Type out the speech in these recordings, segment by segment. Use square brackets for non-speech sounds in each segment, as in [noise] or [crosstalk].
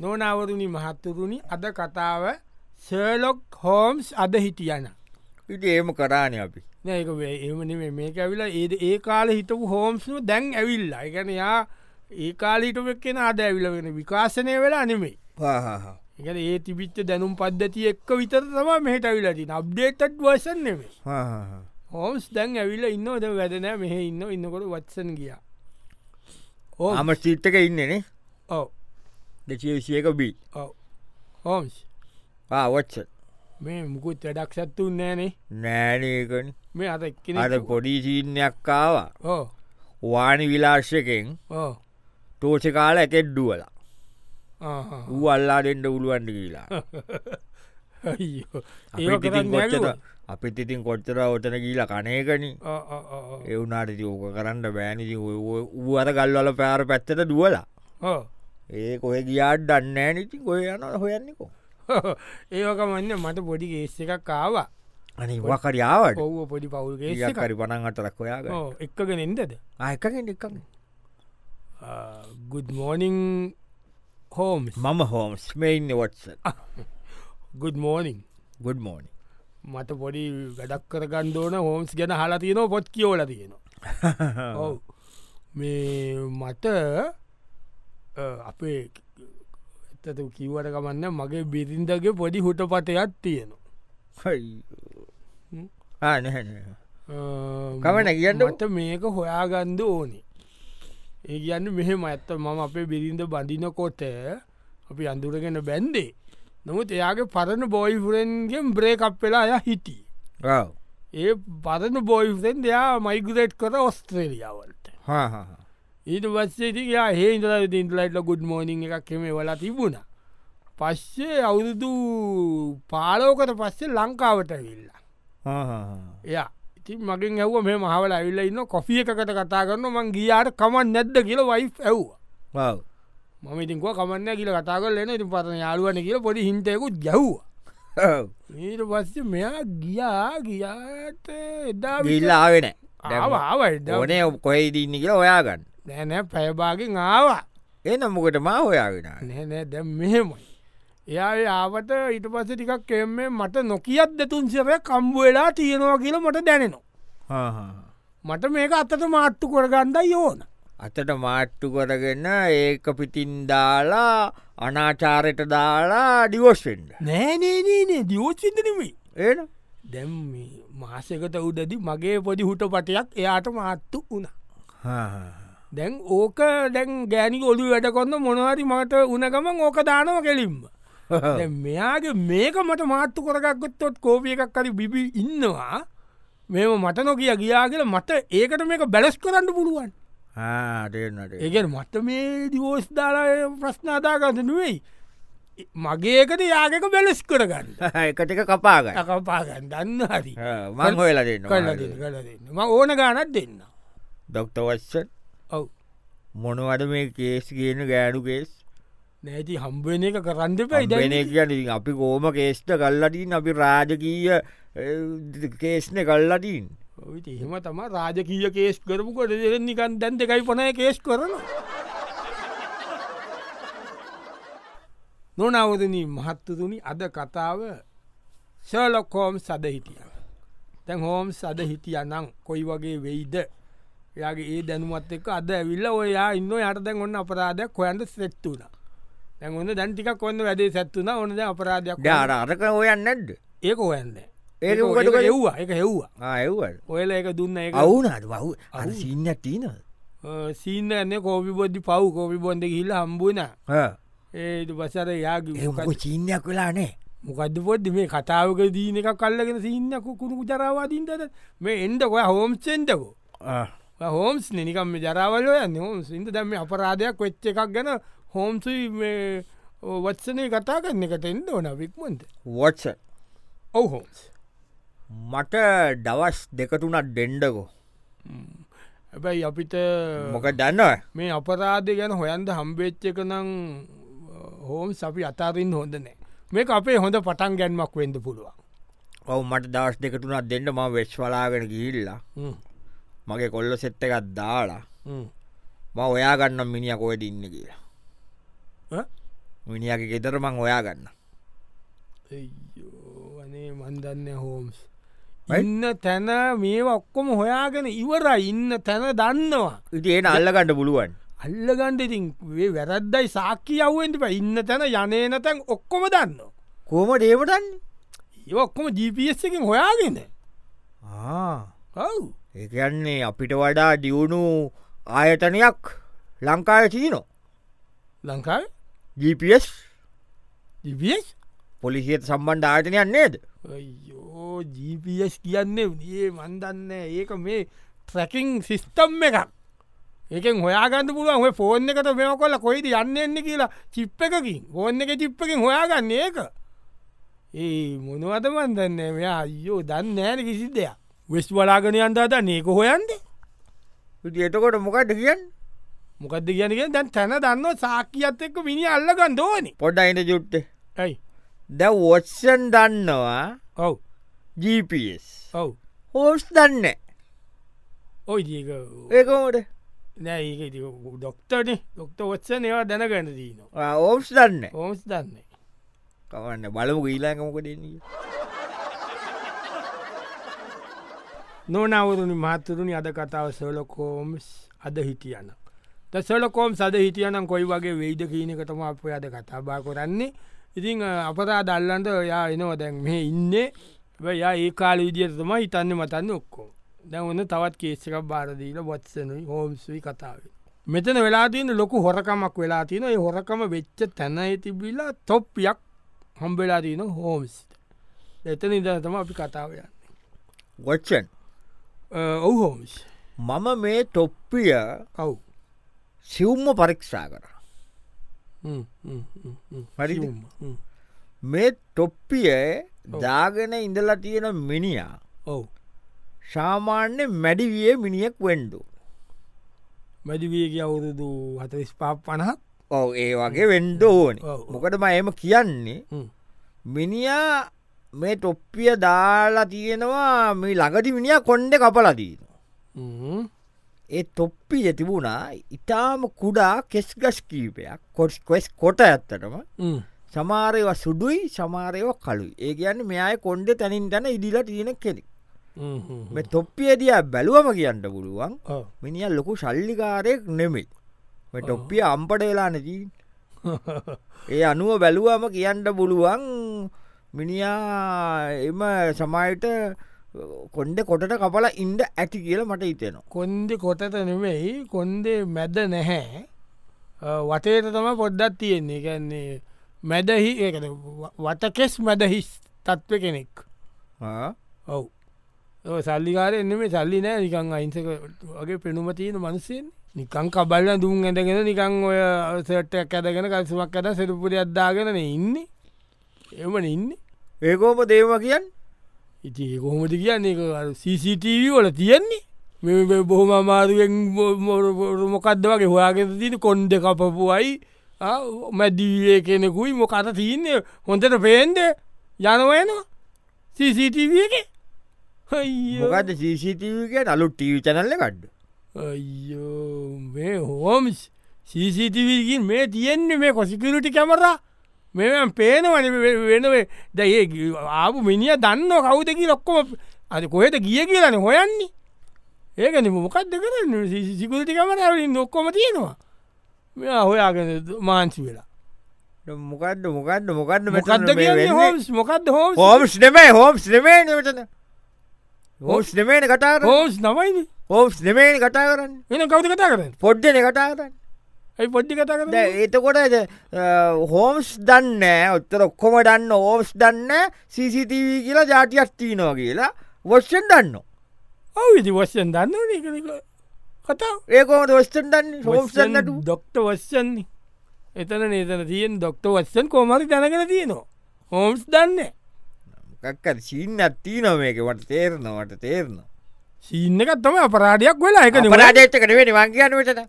නොනවරුණි මහත්තුරුණි අද කතාව සර්ලොක් හෝම්ස් අද හිටියන ඉට ඒම කරාණ අපි නක එමන මේක ඇවිලා ඒ ඒ කාල හිතපු හෝම්ස්ම දැන් ඇවිල්ලා එකන යා ඒ කාලීටම කෙන අද ඇවිල වෙන විකාශනය වෙලා අනෙමේ පහහ එක ඒ තිබිච්ච දැනුම් පද්ධති එක්ක විතර තමා මෙහට ඇවිලදී අබ්ඩේටඩ් වර්සන් නෙමේ හෝම්ස් දැන් ඇවිල්ල ඉන්නවද වැදනෑ මෙහ ඉන්න ඉන්නකොට වත්සන් ගියා ඕ හම සිිට්ටක ඉන්නනේ ඔව දෙසිය විසියක බී ඔව හෝම්ස් පාවච්ච මේ මුකුත් වැඩක් සැත්තුන් නෑනේ නෑනකන මේ අත එක්කෙන අද පොඩි සීනයක් කාවා ඕ වානි විලාශ්‍යකෙන් ඕ තෝෂ කාල ඇතෙඩ්ඩුවලා ආහා. ඌ අල්ලා දෙෙන්ට උළුවන්ඩ කියලා [laughs] අයියෝ. අපිට ඒව ඉතින් කරන්න කොච්චර- ඇවිල්ලා. අපිත් ඉතින් කොච්චර ඔතන ගීලා කනයකන ආ, ආ, ආ, ආ. එවුනාට යෝක කරන්න බෑනිති ඌ අර ගල්වල පෑර පැත්තට දුවලා ඔව්. ඒ කොහ ගියාට දන්නෑ නති කොය යන හොයන්නෙකෝ [laughs] ඒවකමන්න මට පොඩි ගේස් එකක් ආවා අනි වකරියාවට ඔව්ව පොඩි පවුල්ගේ කරි පනන් අතරක් හොයාග එක්කගෙන එන්දද ආයකෙන් එක් ගුඩ් මෝනිං හෝම් [laughs] මම හෝම්ස් මෙයින්න වොටස ගුඩ් මෝනිං ගුඩ් මෝනි [laughs] මට පොඩි වැඩක් කරගන්න ඕන හෝම්ස් ගැන හලා තියෙනවා පොත් කියෝල තියෙනවා ඔව්. මේ මට අ, අපේ එතත කිවට ගමන්න මගේ බිරින්දගේ පොඩි හුට පටයක් තියෙනවා හ්ම්. ආන කමන කමන කියන්න මට මේක හොයාගන්ද ඕනේ ඒ කියන්න මෙහෙම ඇත්ත මම අපේ බිරිඳ බඳිනකොට අපි අඳුරගෙන බැන්දේ නමුත් එයාගේ පරණ බොයිෆරෙන්ගෙන් බ්‍රේකප් වෙලා ය හිටි ඒ පරණ බොයිෆරෙන් දෙයා මයිගරේට් කර ඔස්ට්‍රේලියාවලට ඊට පස්සේතියා හේන්දර දින්ටලයිටල ගුඩ් මෝනිං එකක් කෙමේ වෙලා තිබුණ පස්සේ අවුරුදු පාලෝකට පස්සේ ලංකාවට වෙල්ලා එයා ඉතින් මගින් ඇව මේ මහවල ඇවිල්ල ඉන්න කොෆිය එකකට කතා කරන මං ගියාට කමන් නැද්ද කියල වයි් ඇව්වා මම ඉතින්ක කමන්න කියල කතා කරලන ඉති පරන යාලුවන කියල පොඩි හින්තයකුත් ගැව්වා Oh. [laughs] ඊට පස්ස මෙයා ගියා ගියාට එදා ගිල්ලාගෙන ආවාවයිද ඕනේ කොයි දන්න කියලා ඔයාගන්න නෑනෑ පැයබාගෙන් ආවා එනම් මොකට මා හොයාගෙන නැනෑ දැම් මෙහෙමයි එයා ආවට ඊට පස්ස ටිකක් කෙම්මේ මට නොකියත් දෙතුන්සරය කම්බු වෙලා තියෙනවා කියල මට දැනෙනවා මට මේක අතට මාට්ටු කරගන්ඩයි ඕන අතට මාට්ටු කරගෙන ඒක පිටින් දාලා අනාචාරයට දාලා ඩිවෝස්ෙන්ඩ නෑනේනේනේ දියෝචිදනමේ ඒ දැම් මේ මාසකට උදදි මගේ පොඩි හුට පටයක් එයාට මාත්තු වුණ දැන් ඕක දැන් ගෑනි ගොලු වැඩකොන්න මොනවාරි මට උනගමන් ඕක දානව කෙලින්ම [laughs] දැන් මෙයාගේ මේක මට මාත්තු කොරගක්ගොත්තොත් කෝපිය එකක් කරි බිබි ඉන්නවා මෙම මට නොකිය ගියා කියල මට ඒකට මේක බැලස් කරන්න පුළුවන් ආටනට ඒගැන මට මේ දිවෝස් දාලා ප්‍රශ්නාදාගත නුවෙයි මගේකට යාගක බැලස් කරගන්න [laughs] එකටක කපාගන්න අකපාගන්න දන්න හරි මං හොයලා දෙන්න කල්ල දෙන්න කල දෙන්න ම ඕන ගානත් දෙන්න ඩොක්ටවස්ස ඔව මොනවද මේ කේස් කියන ගෑඩුකේස් නැති හම්බුවෙන එක කරන්න වෙන පයි කියන අපි කෝම කේස්ට කල්ලටින් අපි රාජකීය කේස්න කල්ලටින් එහෙම තම රාජකීය කේස් කරපු කොට දෙරෙන් නිකන් දැන් දෙකයි පනය කේස් කරන නොනවදනී මහත්තතුනි අද කතාව ශලොක් හෝම් සද හිටිය තැන් හෝම් සද හිටිය නම් කොයි වගේ වෙයිද යාගේ ඒ දැනුමත් එක අද ඇවිල්ල ඔයා ඉන්න යට දැන් ඔන්න අපරාධයක් කොයන්ට සෙට්තුුණ තැන් ඔන්න දැන්ටික කොන්න වැඩේ සැත්තුන ඕනද අපරාධයක් ඔන්න ඩාර අරක ඔයන්න නැඩ්ඩ ඒක ඔයන්න ඒක මොකටද කරේ? එව්වා එක හෙව්වා ආයවල් ඔයල එක දුන්න එක අවුනාට බහු අ සින්න තිීන සීන්නන්න කෝපි බොද්ධි පව් කෝපි බොන්ඩ හිල්ල හම්බුවන ඒට පසර යාගේ එමක චීනයක් වෙලා නෑ මොකද පොද්දි මේ කතාවක දීන එක කල්ලගෙන සින්නක කුණු ජරවාදීන්ටද මේ එන්ඩ ඔය හෝම්සෙන්ටකෝ හෝම්ස් නිකම් ජරවල යන්න හෝම් සිින්ද දැම අපරාධයක් වෙච්ච එකක් ගැන හෝම්සු වත්සනය කතා කරන්න එකට එන්න ඕන වික්මන්ට වොටස ඔව හෝම්ස් මට දවස් දෙකතුනත් ඩෙන්ඩකෝ හැබැයි අපිට මොක දන්නව මේ අපරාධය ගැන හොයන්ද හම්බේච්චක නම් හෝම් අපි අතාරින් හොඳ නෑ මේ අපේ හොඳ පටන් ගැන්මක් වෙන්ඩ පුළුවන් ඔව මට දවස් දෙකතුනත් දෙන්න ම වෙස් වලාගෙන ගිල්ලා මගේ කොල්ල සෙත්ත එකත් දාලා ම ඔයා ගන්නම් මිනිිය කොයට ඉන්න කියලා මිනිියගේ ගෙදර මං ඔයා ගන්න අයියෝ, අනේ මන්දන්න හෝම්ස් ඇයි? ඉන්න තැන මේ ඔක්කොම හොයාගෙන ඉවර ඉන්න තැන දන්නවා ඉති එන අල්ලගණඩ පුළුවන් අල්ලගණ්ඩඉතින් වැරද්දයි සාක්කි අවුවෙන්ට ප ඉන්න තැන යනේන තැන් ඔක්කොම දන්න කෝම ඩේවටන් ඒ ඔක්කොම ජීපස් එකින් හොයාගෙන ඔව් ඒකයන්නේ අපිට වඩා දියුණු ආයතනයක් ලංකාය තියනෝ ලංකාව GPS ජීපස් පොලිසියට සම්බන්ධ ආයතනයක් නේද යෝ ජීපස් කියන්නේ ඒ මන්දන්න ඒක මේ ට්‍රැකින් සිිස්ටම් එකක් ඒකෙන් හොයාගන්න පුළුවන් ඔය ෆෝන් එකට මෙම කොල්ල කොයිද යන්න එන්න කියලා චිප් එකකින් ඕෝන් එක චිප්පකින් හොයාගන්න ඒක ඒ මොනවද මන්දන්න මෙයා අයෝ දන්න ෑන කිසි දෙයක් වෙස් වලාගෙන අන්දාත නේක හොයන්ද ඉතින් එතකොට මොකට කියන්න මොකක්ද කියනක දැන් තැන දන්න සාක්කියත් එක්ක මිනි අල්ලගන්න දෝනි පොඩ්ඩ අයිට ජුට්ටේ ඇයි දැ වොටසන් දන්නවා ඔව් GPS ඔව් හෝස් දන්න ඔයි දීක ඒකෝට නෑ ඒක ඩොක්ටන ඩොක්ට ඔත්සන ඒවා දැනගන්න දීනවා ඕස් දන්න ඕමස් දන්නේ කවන්න බලමු ඊලාකමකට නොනවරුණි මාතුරුණි අද කතාව සොලකෝම්ස් අද හිටියන. තසොලකෝම් සද හිටියනම් කොයි වගේ වෙයිද කියීනකටම අප අද කතාබා කරන්නේ. ඉතිං අපරා දල්ලන්ට ඔයා එනවා දැන් මේ ඉන්නේ යා ඒ කාල විදිියතම හිතන්න මතන්න ඔක්කෝ. දැන් ඔන්න තවත් කේසිකක් බාරදීල වත්සනුයි හෝම්සුයි කතාවේ. මෙතන වෙලාදීන ලොකු හොරකමක් වෙලා තින ඒ හොරකම වෙච්ච තැනයි තිබිලා තොප්පියක් හම්බෙලාදීන හෝම්ස්. එතන ඉදතම අපි කතාවයන්. වොච්චන් ඔවු හෝමිස් මම මේ තොප්පිය කව් සිවුම්ම පරීක්ෂා කර හරිද? මේ තොප්පිය දාගෙන ඉඳලා තියෙන මිනිියා ඔව් සාමාන්‍ය මැඩිවිය මිනිියෙක් වෙන්ඩු මැදිවියගේ අවුරුදු හතරිස් පාප් පනහක් ඔව ඒ වගේ වෙන්ඩ ඕන ඔව්, ඔව්. මොකට මම කියන්නේ මිනිියා මේ තොප්පිය දාලා තියෙනවා මේ ළඟටි මිනිිය කොන්්ඩ කපලදීන ඒ තොප්පිය තිබුණා ඉතාම කුඩා කෙස්ගස් කීපයක් කොට් කොස් කොට ඇත්තටම සමාරයව සුඩුයි සමාරයව කලුයි ඒ කියන්න මෙයාය කොන්්ඩ තැනින් තැන ඉදිලා තියෙන කෙනෙක් මේ තොප්පිය දිය බැලුවම කියන්න පුළුවන් [laughs] මිනිිය ලොකු ශල්ලිකාරයෙක් නෙමෙයි මේ තොප්පිය අම්පට වෙලානදී ඒ අනුව බැලුවම කියන්න පුළුවන් මිනිියා එම සමයිට කොන්්ඩ කොටට කපලා ඉන්ඩ ඇති කියලා මට හිතෙනවා කොන්දෙ කොටට නෙවෙයි කොන්දේ මැද නැහැ අ, වටේට තම පොඩ්ඩත් තියෙන්නේ ගැන්නේ මැදහි ඒ වටකෙස් මැදහිස් තත්ව කෙනෙක් ආ? ඔව් සල්ලිකාර එන්න මේ සල්ලි නෑ නිකං අයින්සක වගේ පෙනුම තියෙන මනුස්සයෙන් නිකං කබල්ල දුම් ඇඳගෙන නිකං ඔය සට්ටක් ඇදගෙන කල්සුවක් ඇද සෙරපුරි අද්දාගෙනන ඉන්නේ එම ඉන්න ඒකෝම දේම කියන් ඉති කොහොමට කියන්නේ CCTV වල තියෙන්නේ මේ බොහොම අමාරුවෙන් මොකක්ද වගේ හොයාගෙන තින කොන්්ඩ කපපුුවයි මැදිවිය කෙනෙකුයි මොකට තියන්නේ හොඳට පේන්ද යනවයනවා CCTV එක අයියෝ. මොකද සිසිටවිකට අලු ටීවි චනල්ල කඩ්ඩ අයියෝ මේ හෝම්ස් සීසිටවිල්ගින් මේ තියෙන්නේ මේ කොසිකරටි කැමරා මෙම පේනවන වෙනවේ දැඒ ආපු මිනිිය දන්න කවුදකි ලොක්කොම අද කොහෙද ගිය කියලන හොයන්නේ ඒකන මොකක්ද කරන්න සිකුරටි කමරාවින් නොක්කොම තියෙනවා මෙයා හොයාගෙන මාංචි වෙලා මොකක්ද මොකක්ද මොකක්ද මොකක්ද කියන්නේ හෝම්ස් මොකක්ද හෝම් හෝම්ස් නෙමේ හෝම්ස් නෙමේ නටන හෝස් නෙමේන කටාර හෝස් නමයින හෝස් නෙමේන කටා කරන්න වෙන කවුද කතා කරන්න පොඩ්ඩන කටා කරන්න ඇයි පොඩ්ි කතා කරන්න දැන් එතකොට ද- අ, හෝම්ස් දන්න ඔත්තර ඔක්කොම දන්න ඕෝස් දන්න සිසිටව කියලා ජාතියක් තිීනෝ කියලා වොස්්ෂන් දන්න ඔව ඉති වස්යෙන් දන්න කතාව ඒකෝම දොස්ටන් දන්න හෝම්ස් දන්නට දොක්ට වස්සන්නේ එතන නේතන තියෙන් දොක්ට වස්සන් කෝමරි දැනකර තියනවා හෝම්ස් දන්න කක්කත් සිීන්න අත්ති නොමේක වට තේරනවට තේරන සිීන්න එකත් තම අපරාඩයක් වෙලා එක පරාජත්තකට වෙන වංගයන වෙටන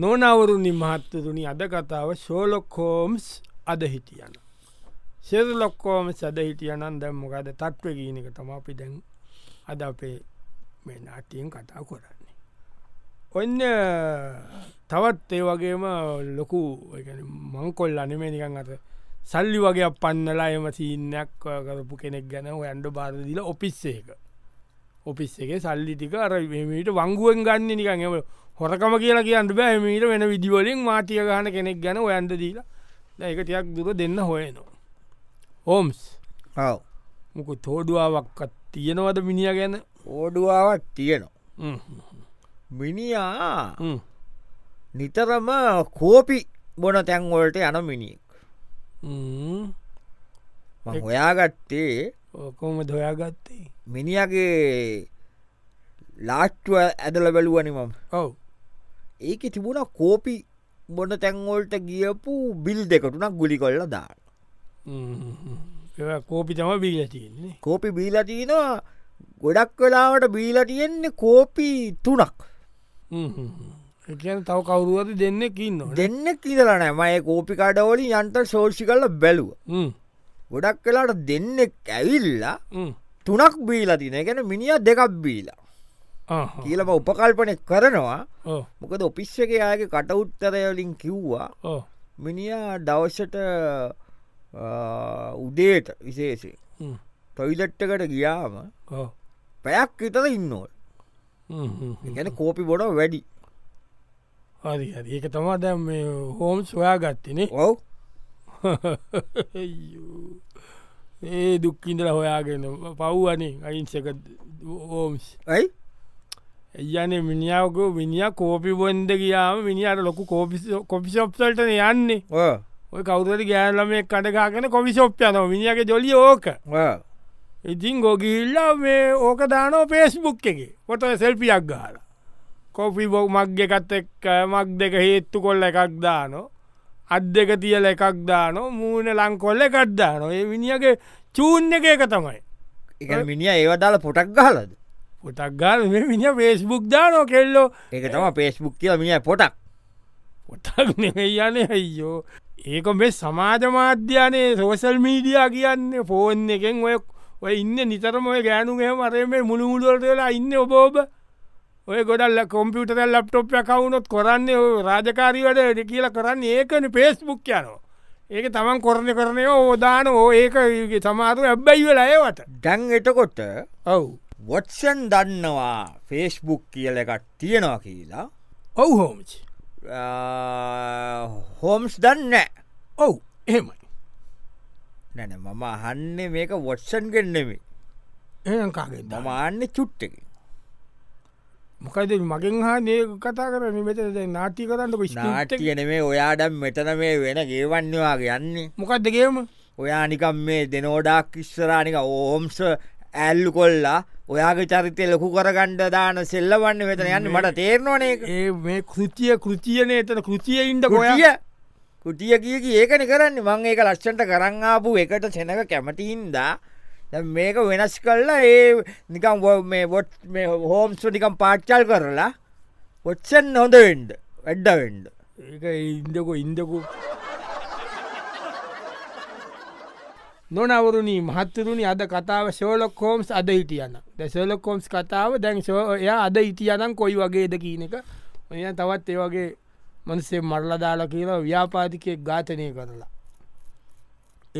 නොනවරුණි මහත්තතුනි අද කතාව ශෝලොක්කෝම්ස් අද හිටියන. සෙරලොක්කෝම සද හිටියනන් දැම්මකද තත්ව ගීනක තම අපි දැන් අද අපේ මේ නාටයෙන් කතා කොරන්නේ. ඔන්න තවත් ඒ වගේම ලොකු ඒ කියන්නේ මංකොල් අනමේ නිකන් අත සල්ලි වගේ පන්නලා එම සීනයක් කරපු කෙනෙක් ගැන ඇන්ඩ බාරදිල ඔපිස්ස එක ඔපිස් එක සල්ලි ටික අරමීට වංගුවෙන් ගන්න නිකන් එම හොරකම කියලා කියන්න බෑමීට වෙන විදිවලින් මාටිය ගහන කෙනෙක් ගැන ඔයන්ඩ දීලා දැන් ඒක ටියක් දුර දෙන්න හොයනවා ඕම්ස් ඔව මොකු තෝඩුවාවක්කත් තියෙනවද මිනිිය ගැන ඕඩුවාවක් තියෙනවා හ්ම්. මිනිියා හ්ම්. නිතරම කෝපි බොන තැන්වලට යන මිනිෙක් හ්ම්. එක්- හොයාගත්තේ ඔකොම දොයාගත්තේ මිනිියගේ ලාට්ටුව ඇදල බැලුවනිමම් ඔව ඒක තිබුණ කෝපි බොන තැන්වොල්ට ගියපු බිල් දෙකටුනක් ගුලි කොල්ල දා කෝපි තම බීල තියෙන්නේ කෝපි බීලතිනවා ගොඩක් වෙලාවට බීලා තියෙන්නේ කෝපි තුනක් එකන තව කවුරුවද දෙන්නෙක් ඉන්න දෙන්න කියදලා නෑමයි කෝපිකාඩවලින් යන්ට සෝෂි කල්ල බැලුව ගොඩක් වෙලාට දෙන්නෙක් ඇවිල්ලා තුනක් බීලතින ගැන මිනිිය දෙකක් බීලා කියලබ උපකල්පනය කරනවා මොකද ඔපිස්ස එක යාගේ කටඋත්තරයලින් කිව්වා මිනිියා දවස්සට උදේට විශේෂය ටොයිලට්ටකට ගියාම පැයක් විතර ඉන්නෝල් ගැන කෝපි බොඩ වැඩි හරි හරි ඒක තමා දැම් මේ හෝම් සොයා [laughs] ගත්තනේ ඔව් අයියෝ. ඒ දුක්කින්දල හොයාගෙන පව්වනේ අයින්සක ඕම්ස් ඇයි යන මිනිියාවක මිනිිය කෝපි බොන්ද කියාම මිනිියට ලොකු කොපිෂොප්සල්ටන යන්නේ ඔය ඔය කවුරට ගෑනලමේ කඩගාගෙන කොමිෂොප්යන මිනිියගේ ජොලි ඕක ඔය ඉතින් ගොගිල්ලා මේ ඕක දානෝ පේස්බුක් එක පොත සෙල්පියක් ගාල කොපි බොක් මක් එකත් එක් මක් දෙක හේත්තු කොල්ල එකක් දානෝ අත් දෙක තියල එකක් දානෝ මූුණ ලංකොල්ල එකක් දානො ඒ විනිියගේ චූන් එක එක තමයි එක මිනිිය ඒවදාල පොටක් ගහලද පොටක් ගාල මේ මිනි පේස්බුක් දානෝ කෙල්ලෝ ඒක තම පේස්බුක් කියල මිනිිය පොටක් පොටක් යන අයියෝ ඒක මේ සමාජ මාධ්‍යනයේ සෝසල් මීඩියා කියන්නේ ෆෝන් එකෙන් ඔය ඔය ඉන්න නිතරම ඔය ගෑනුගේ මරේ මේ මුළු මුළුවලට වෙලා ඉන්න ඔබෝබ ඔය ගොඩල් කොම්පියුටර ලප්ටොප් කවුනොත් කරන්නේ ඔය රාජකාරීවට වැඩ කියලා කරන්න ඒකන පේස්බුක් යනවා ඒක තමන් කොරණ කරනය ඕදාන ඕ ඒක සමාරු ඇබ්බැයි වෙලා ඒවට ඩැන් එතකොට ඔව් වොටසන් දන්නවා ෆේස්බුක් කියල එකක් තියෙනවා කියලා ඔව් හෝමිච් ආ, හෝම්ස් දන්න ඔව් එහෙමයි නැන මම අහන්නේ මේක වොටසන් ගෙන්නෙමි ඒකාගේ දම දමාන්න චුට්ට එක මොකයිද මගෙන් හා නය කතා කරන මෙත නාටි කරන්නක නාට කියන මේ ඔයාඩම් මෙතන මේ වෙන ගේවන්නවාගේ යන්නේ මොකක්දගේම ඔයා නිකම් මේ දෙනෝඩාක් ඉස්සරානික ඕම්ස ඇල්ලු කොල්ලා ඔයාගේ චරිතය ලොකු කරගණ්ඩ දාන සෙල්ලවන්න වෙතන යන්න මට තේරනවානේ ඒ මේ කෘතිය කෘතියන එතන කෘතියයින්ට ගොය ගොටිය කුටිය කියක ඒකන කරන්න මං ඒක ලක්ෂන්ට කරංආපු එකට සෙනක කැමතින්දා දැන් මේක වෙනස් කල්ලා ඒ නිකම් වො- මේ බොට් මේ හෝම්සු නිකම් පාච්චල් කරලා පොච්චන් හොඳ වෙන්ඩ වැඩ්ඩ වෙන්ඩ ඒක ඉන්දකො ඉන්දකු නොනවරුණී මහත්තරුණි අද කතාව ශෝලොක් කෝම්ස් අද හිටියන දැසලො කෝම්ස් කතාව දැන් ශෝයා අද හිටියනම් කොයි වගේද කියන එක ඔය තවත් ඒ වගේ මනසේ මරලදාලා කියලා ව්‍යාපාතිකයෙක් ඝාතනය කරලා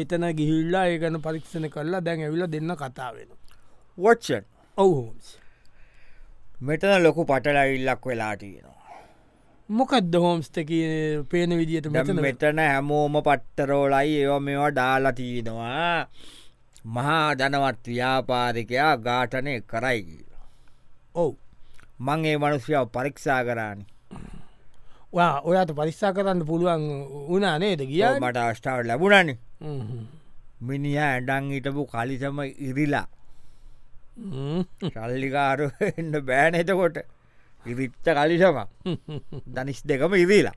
එතන ගිහිල්ලා ඒගන පරීක්ෂණ කරලා දැන් ඇවිල දෙන්න කතාවෙන වොච්චන් ඔවුහෝම්ස් මෙතන ලොකු පටලයිල්ලක් වෙලා තියෙනවා මොකක්ද හෝම්ස්ට කිය පේන විදිහට දැන් මෙතන මෙතන හැමෝම පට්ටරෝලයි ඒවා මේවා ඩාලා තියෙනවා මහා දනවත් ව්‍යාපාරිකයා ගාටනය කරයි කියලා ඔව් මං ඒ මනුස්්‍යාව පරීක්ෂා කරානි වා ඔයාට පරිස්සා කරන්න පුළුවන් වනා නේද ඔව්, කිය මට අවස්ථාව ලැබුණනි Hmm, මිනිහ ඇඩන් හිටපු කලිසම ඉරිලා hmm, [laughs] ශල්ලිකාරු එන්න බෑනතකොට ඉරිච්ච කලිසම දනිස් දෙකම ඉවිලා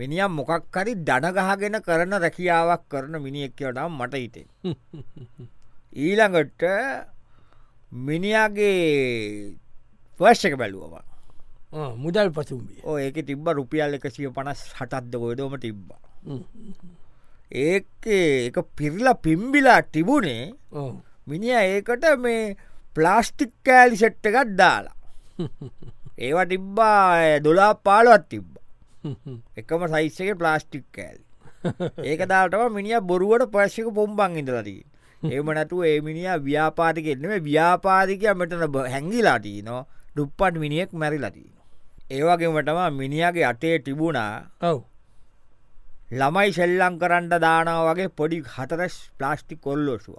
මිනිියම් මොකක්කරි දනගහගෙන කරන රැකියාවක් කරන මිනිියක්කවටම් මට හිතේ ඊළඟට මිනිියගේ පර්ශ් එක බැලුවම මුදල් පසුම්බිය ඕ ඒක තිබ්බ රුපියල් එක සිය පනස් හටත්ද ගොයදෝම තිබ්බා Hmm, ඒක එක පිරිලා පිම්බිලා තිබුණේ hmm. [laughs] මිනිිය ඒකට මේ ප්ලාස්ටික් කෑලි සෙට්ට එකත් දාලා ඒවා තිබ්බා දොලා පාලුවත් තිබ්බ එකම සයිස්සක ප්ලාස්ටික් කෑල් ඒක දාටම මිනිිය බොරුවට පර්ශික පොම්බං ඉදලදී ඒම නැතු ඒ මිනිිය ව්‍යාපාතිකෙන්ම ව්‍යාපාතිකය මෙටන හැංගිලාටී නො ඩුප්පට් මිනිියෙක් මැරිලදී. ඒවගේමටම මිනිියගේ අටේ තිබුණා ඔව් [laughs] ළමයි සෙල්ලං කරන්ට දානාව වගේ පොඩි හතරස් ප්ලාස්ටික් කොල්ලෝසුව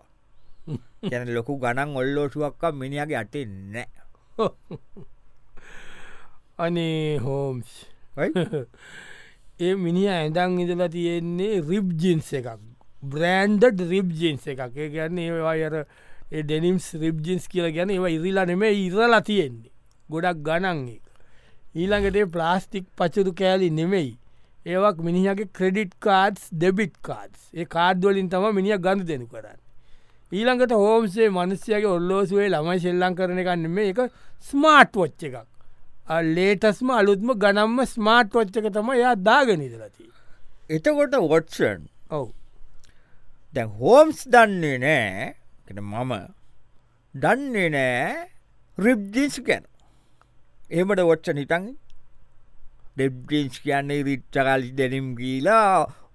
ගැන ලොකු ගණන් ඔල්ලෝසුවක්ක මිනිියගේ අටේ නෑ අනේ හෝම්ස් ඔයි? [laughs] ඒ මිනි ඇඳන් ඉඳලා තියෙන්නේ රිබ්ජින්ස් එකක් බ්‍රෑන්ඩඩ් රිබ්ජින්ස් එකක් ඒ ගැන්නේ ඒවා අර ඒ ඩෙනිම්ස් රිබ්ජින්ස් කියල ගැන ඒවා ඉරිලා නෙම ඉරලා තියෙන්නේ ගොඩක් ගණන් එක. ඊළඟටේ ප්ලාස්ටික් පචුරු කෑලි නෙමෙයි ඒවක් මිනිහගේ ක්‍රෙඩිට් කාඩ්ස් ඩෙබිට් කාඩ්ස් ඒ කාඩ්වලින් තම මිනිිය ගඳ දෙනු කරන්න. ඊළඟට හෝම්සේ මනුස්්‍යයගේ ඔල්ලෝසුවේ ළමයි ශෙල්ලං කරන එකන්න මේ එක ස්මාර්ට් වොච්ච එකක් ලේටස්ම අලුත්ම ගනම්ම ස්මාර්ට් වොච්චක තම එයා දාගනිදලති එතකොට වොට්සන් ඔව දැ හෝම්ස් දන්නේ නෑ එන මම දන්නේ නෑ රිබ්ජිස් කැන එමට වොච්ච නිතන් ඩෙබ්ජින්ස් කියන්නේ රිච්චකල් දෙනම් ගීලා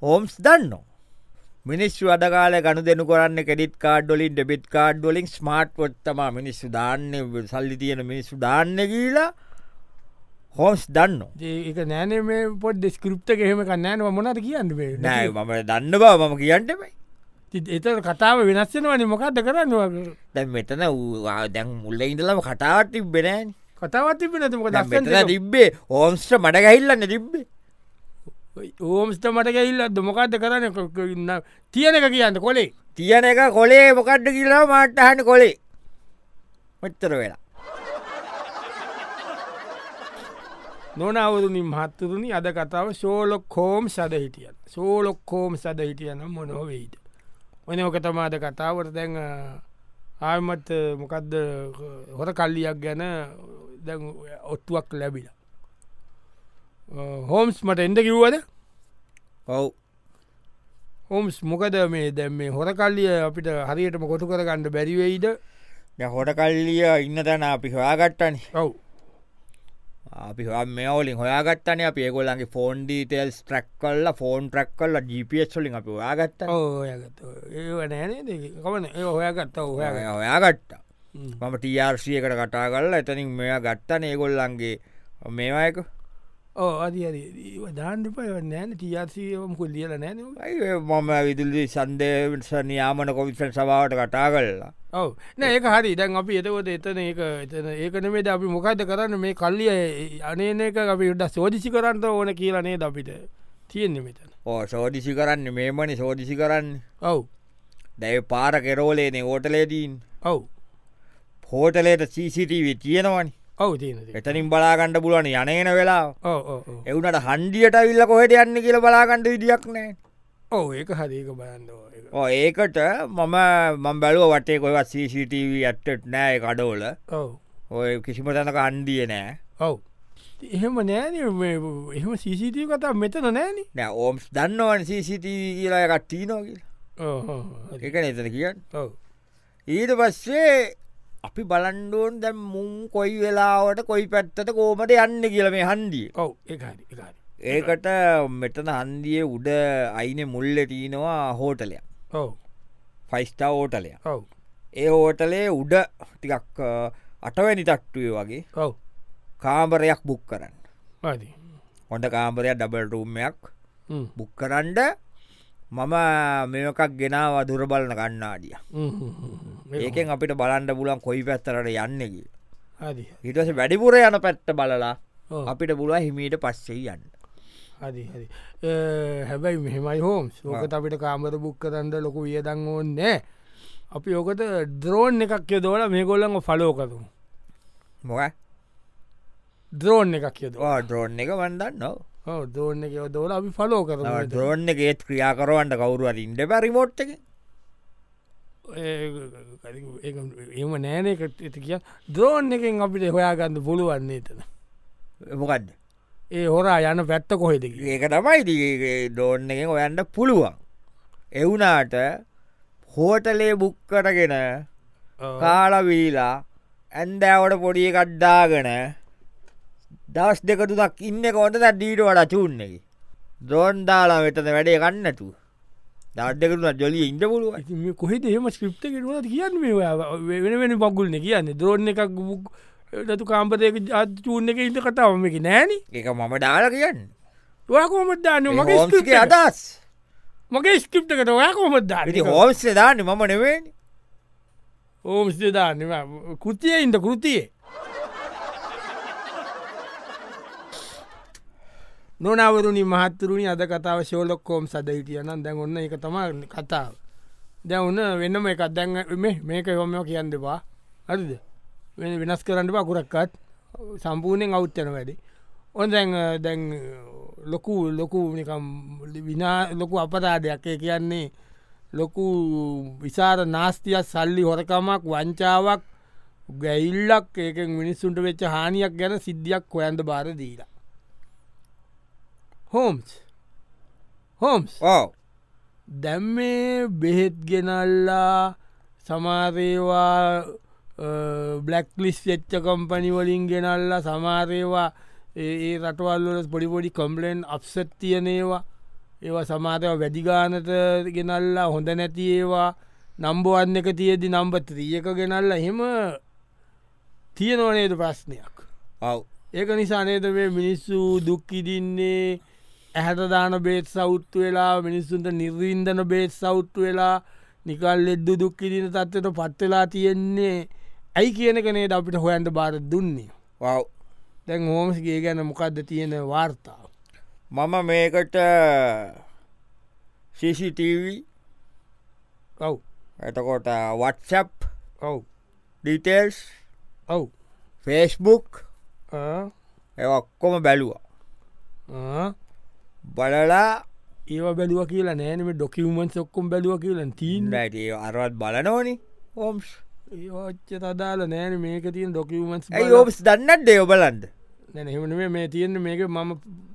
හෝම්ස් දන්න මිනිස් වදකාල ගන දෙනු කරන්න කෙඩිත් කාඩ්ඩොලින් ඩෙබිත් කාඩ්ඩොලින් ස්මාර්ට් වොත්තම මිනිස්සු දාන්න සල්ලි තියෙන මිනිස්සු දාන්න ගීලා හෝස් දන්න ඒක නෑනේ මේ පොඩ් ස්කෘප්ත එහෙම කන්නෑන මොනට කියන්න වේ නෑ මම දන්න බව මම කියන්නටමයි එත කතාව වෙනස්සෙනවන මොකක්ද කරන්න දැන් මෙතන වූවා දැන් මුල්ල ඉඳලම කටාවට තිබෙනෑන් කතාවත් තිබ නැතිමක මෙතන දක්න්න තිබ්බේ ඕම්ස්ට මඩගහිල්ලන්න තිබ්බේ ඕම්ස්ට මට ගැල්ලත් මොකක්ද කරන්න ක- ක- ඉන්න තියන එක කියන්න කොලේ තියන එක කොලේ මොකට්ට කියලා මාට්ටහන්න කොලේ මෙච්චර වෙලා නොනවරුණින් මහත්තුරුණි අද කතාව සෝලොක් කෝම් සද හිටියන් සෝලොක් කෝම් සද හිටියන මොනොවෙයිද ඔන ඕක තමාද කතාවට දැන් ආමත් මොකක්ද හොර කල්ලියක් ගැන දැන් ඔත්තුවක් ලැබිලා අ, හෝම්ස් මට එඩ කිව්වද ඔව් හෝම්ස් මොකද මේ දැම් මේ හොර කල්ලිය අපිට හරියටම කොටු කරගන්න බැරිවෙයිද දැන් හොට කල්ලිය ඉන්න තැන අපි හොයාගත්තන ඔව් අපි මෙවලින් හොයාගත්තන අප ඒගොල්ලන්ගේ ෆෝන් ඩීටෙල් ට්‍රක් කල්ල ෆෝන් ට්‍රක් කල්ල ජිපස්ලින් අපි හොයාගත්ත ඕයගත ඒ නෑනේ කමන ඒ ඔහොයගත්ත ඔහය හොයාගත්ත මම ටRCකට කටා කල්ලා එතනින් මෙයා ගත්තන ඒගොල්ලන්ගේ මේවායක ඕ අදි හරි දාණ්ඩුපය නෑන ටියර්සියම කුල් ලියල නෑන අයි මම විදුලි සන්දේස නියාමන කොමිෂන් සභාවට කටා කල්ලා ඔව නෑ ඒක හරි දැන් අපි එතකොට එතන ඒක එතන ඒකන මේද අපි මොකක්ද කරන්න මේ කල්ලිය ඒ- අනේන එක අපි ඩ සෝදිසි කරන්න ඕන කියලනේ අපිට තියෙන්නේ මෙතන ඕ සෝදිසි කරන්න මේමනි සෝදිසි කරන්න ඔව් දැයි පාර කෙරෝලේනේ ඕටලේදීන් ඔව් හෝටලේට සීසිටීවී තියෙනවනි ඔව් තියෙන එතනින් බලාගණ්ඩ පුලුවන යනේන වෙලා ඕ එවුනට හන්ඩියට විල්ල කොහෙට යන්න කියල බලාගණ්ඩ විදිියක් නෑ ඔව ඒක හරික බයන්න ඕ ඒකට මම මම් බැලුව වටේ කොවත් CCTV ඇට්ටට නෑ කඩෝල ඔව් ඔය කිසිම තැනක අන්දිය නෑ ඔව් එහෙම නෑන එහෙම සිසිටය කතා මෙතන නෑන නෑ ඕම්ස් දන්නවන් CCTV කියලායකත් ටීනෝ කියලා Oh, එක නතන කියන්න ඔව් ඊට පස්සේ අපි බලන්ඩුවන් දැම් මුම් කොයි වෙලාවට කොයි පැත්තට කෝමට යන්න කියල මේ හන්දිය ඔව් ඒ හරි ඒ හරි ඒකට මෙතන හන්දිය උඩ අයින මුල්ල තියනවා හෝටලයක් ඔව් ෆයිස්ටා හෝටලය ඔව් ඒ හෝටලේ උඩ ටිකක් අ, අටවැනි තට්ටුවේ වගේ ඔව් කාමරයක් බුක් කරන්න ආදී හොඳ කාමරයක් ඩබල් රූම්මයක් හ්ම්. බුක් කරන්ඩ මම මේකක් ගෙනවා දුර බලන කන්නාඩිය හ්ම් හ්ම් හ්ම් හ්ම්. ඒක ඒකෙන් අපිට බලන්ඩ පුලන් කොයි පැත්තරට යන්නකි ආදී හිටස වැඩිපුර යන පැත්ත බලලා ඔව්. අපිට පුළුව හිමීට පස්සේ යන්න හරි හරි අ, හැබැයි මෙහෙමයි හෝම් ඕකත අපිට කාමර බුක් කරන්න ලොකු වියදං ඕන්නෑ අපි ඕකට ද්‍රෝන් එකක් යදෝල මේ ගොල්ලම ෆලෝකතු මොක ද්‍රෝන් එකක් යද ද්‍රෝන් එක වන්දන්න ද්‍රෝන් එක දෝල අපි ෆලෝ කර ද්‍රෝන් එකේත් ක්‍රියාකරවන්ට කවරුවට ඉන්ඩ පැරිමෝට් එක එම නෑනකට ඇති කිය ද්‍රෝන් එකෙන් අපිට හොයාගන්න පුළුවන්නේ එතන මොකක්ද ඒ හොරා යන පැත්ත කොහෙදක ඒක තමයි ඩෝන් එක ඔයන්ට පුළුවන් එවුනාට හෝටලේ බුක් කරගෙන කාලවීලා ඇන්දෑවට පොඩිය කඩ්ඩාගෙන දවස් දෙකතුදක් ඉන්න කොට දීට වඩා චූන්නකි දෝන් දාලා වෙතද වැඩේ ගන්නතු දර්දකරුණ ජොලිය ඉන්න පුළුවන් කොහෙද එම ස්ක්‍රප්ත කෙරුණට කියන්න මේ ඔයා වෙන වෙන පගුල්න කියන්න දෝන එකක් ගුක් රතු කාම්පතයක චූන්න එක ඉට කතාවම එක නෑන එක මම දාලා කියන්න ඔයාකොමත් දාන්න මගේ හෝම්ස්ගේ ස්ක්‍රප්ට එක. අදස් මගේ ස්ක්‍රප්ටකට ඔයාකොමත් දාන්න ඉති හෝස්සේ දාන්න මම නෙවෙන් ඕමස්ද දාන්න කෘතිය ඉන්ට කෘතියේ නොනවරුණි මහත්තුරුණි අද කතාව ශෝලොක්කෝම් සද හිටියනම් දැන් ඔන්න එක තම කතාව දැ ඔන්න වෙන්නම එකක් දැන් මේ- මේක යොම කියන්න දෙපා හරිද වෙන- වෙනස් කරන්න පකුරක්කත් සම්පූර්ණයෙන් අවුත්තන වැඩි ඔන් දැන් අ, දැන් ලොකු ලොකු නිකම් විනා ලොකු අපරාධයක් ඒ කියන්නේ ලොකු විසාර නාස්තියක් සල්ලි හොරකමක් වංචාවක් ගැයිල්ලක් ඒක මිනිස්සුන්ට වෙච්ච හානියක් ගැන සිද්ධියක් හොයන්ද බාර දීලා හෝම්ස් හෝම්ස් ඕ දැම් මේ බෙහෙත් ගෙනල්ලා සමාරේවා බ්ලක්ලිස් වෙච්ච කම්පනි වලින් ගෙනල්ලා සමාරේවා ඒ ඒ රටවල්ලට පොඩිපොඩි කම්පලෙන්් අප්සත් තියනේවා ඒවා සමාරයව වැඩිගානට ගෙනල්ලා හොඳ නැති ඒවා නම්බුවන් එක තියදි නම්බත්‍රියක ගෙනල්ලා හෙම තියනවනේද ප්‍රශ්නයක් ඔව් ඒක නිසා නේද මේ මිනිස්සු දුක්කිදින්නේ ඇහතදාන බේත් සෞත්තු වෙලා මිනිස්සුන්ට නිර්වින්දන බේත් සෞත්තු වෙලා නිකල් එද්දු දුක්කිදින තත්වට පත්වෙලා තියෙන්නේ ඇයි කියන කනේ අපිට හොයන්ට බාර දුන්නේ වව් දැන් හෝමස්ගේ ගැන මොකක්ද තියෙන වාර්තාව මම මේකට CCTV ඔව් එතකොට වත්සප් ඔව් ඩීටේල්ස් ඔව් ෆේස්බුක් ආ, ඒ ඔක්කොම බැලුවා ආ. බලලා ඒවා බැලුව කියලා නෑනම ඩොකිවමන් සොක්කොම් බැලුව කියලා තිීන්න ඉන්නට අරවත් බලනෝනි ඕම්ස් ඒච්ච තදාල නෑන මේක තියන ඩොකිවමන්ස් ඇයි ඕපස් දන්නත් දෙය බලන්ද නැහෙමනේ මේ තියෙන මේක මම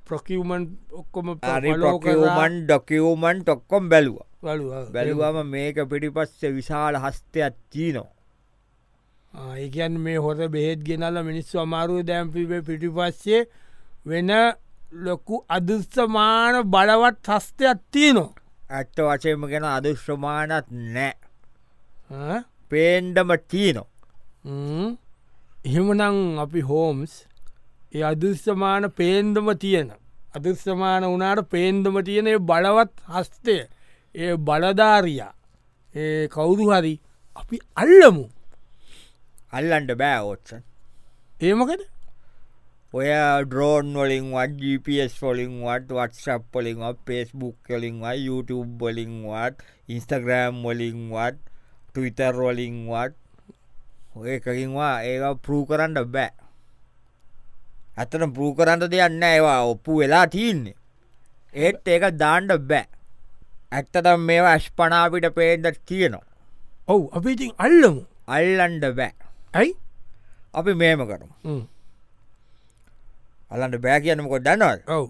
ප්‍රොකිවමන්් ඔක්කොම රිමන් ඩොකිවමන් ටොක්කොම් බැලවා බැලවා බැලුවම මේක පිටිපස්ස විශාල හස්තයක් චීනෝ ඒකන් මේ හොර බෙහෙත් ගෙනල්ල මිනිස්සු අමාරුව දැම්පිේ පිටි පස්සේ වෙන ලොකු අදුස්සමාන බලවත් හස්තයක් තියනවා ඇත්ත වශයම ගැෙන අදුශ්‍රමානත් නෑ පේන්ඩම චීනෝ එහෙමනං අපි හෝම්ස් ඒ අදුස්සමාන පේන්දම තියෙන අදුස්සමාන වනාට පේන්දම තියෙන ඒ බලවත් හස්තය ඒ බලධාරයා ඒ කවුරු හරි අපි අල්ලමු අල්ලන්ට බෑ ඕත්සන් ඒමකද ඔය ඩ්‍රෝන් වලින්වත් GPS ොලින්වත් වටසප් පොලින්වත් පේස්බුක් කලින්වත් YouTube බොලින්වත් ඉන්ස්ටග්‍රෑම් වලින්වත් ටවිතර් වලින්වත් ඔය එකකින්වා ඒ පරූ කරන්න බෑ ඇතන පරූ කරන්න දෙයන්න ඒවා ඔප්පු වෙලා තියන්නේ ඒත් ඒක දාණ්ඩ බෑ ඇත්තටම් මේ ඇශ්පනාපිට පේද තියෙනවා ඔවු අපි ඉතින් අල්ලමු අල්ලන්ඩ බෑ ඇයි අපි මේම කරම අල්ලන්ට බෑ කියනකො දනවල් ඔව්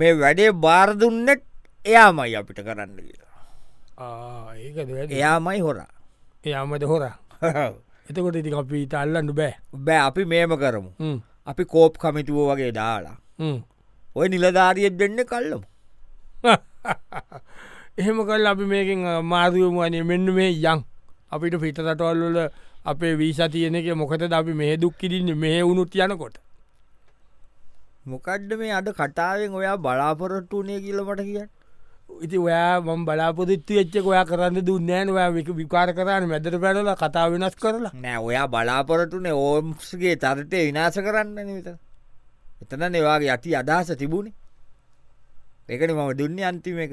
මේ වැඩේ බාරදුන්නෙත් එයාමයි අපිට කරන්න කියලා ඒකද වැඩ එයාමයි හොරා [laughs] යාමට හොරා එතකොට ඉති අපි ඉට අල්ලන්න බෑ බෑ අපි මේම කරමු හ්ම්. අපි කෝප් කමිටුව වගේ දාලා හ්ම්. ඔය නිලධාරියෙත් දෙන්න කල්ලම [laughs] එහෙම කල් අපි මේකින් මාර්යමුවනේ මෙන්න මේ යං අපිට පිටතටවල්ල අපේ වීසා තියන එක මොකද අපි මේ දුක් කිරන්න මේ වුණුත් යනකොට මොකඩ්ඩ මේ අද කටාවෙන් ඔයා බලාපොරොට්ටු වනේ කියලමට කිය ඉති ඔයා මම් බලාපොරත්තු එච්චක ඔයා කරන්න දුන්නෑන ඔයා එක විකාර කරන්න මැදර පැඩල කතා වෙනස් කරලා නෑ ඔයා බලාපොරටුනේ ඕම්ස්ගේ තරිතය විනාශ කරන්න නත එතන නවාගේ යටි අදහස තිබුණේ එකන මම දුන්න අන්තිම එක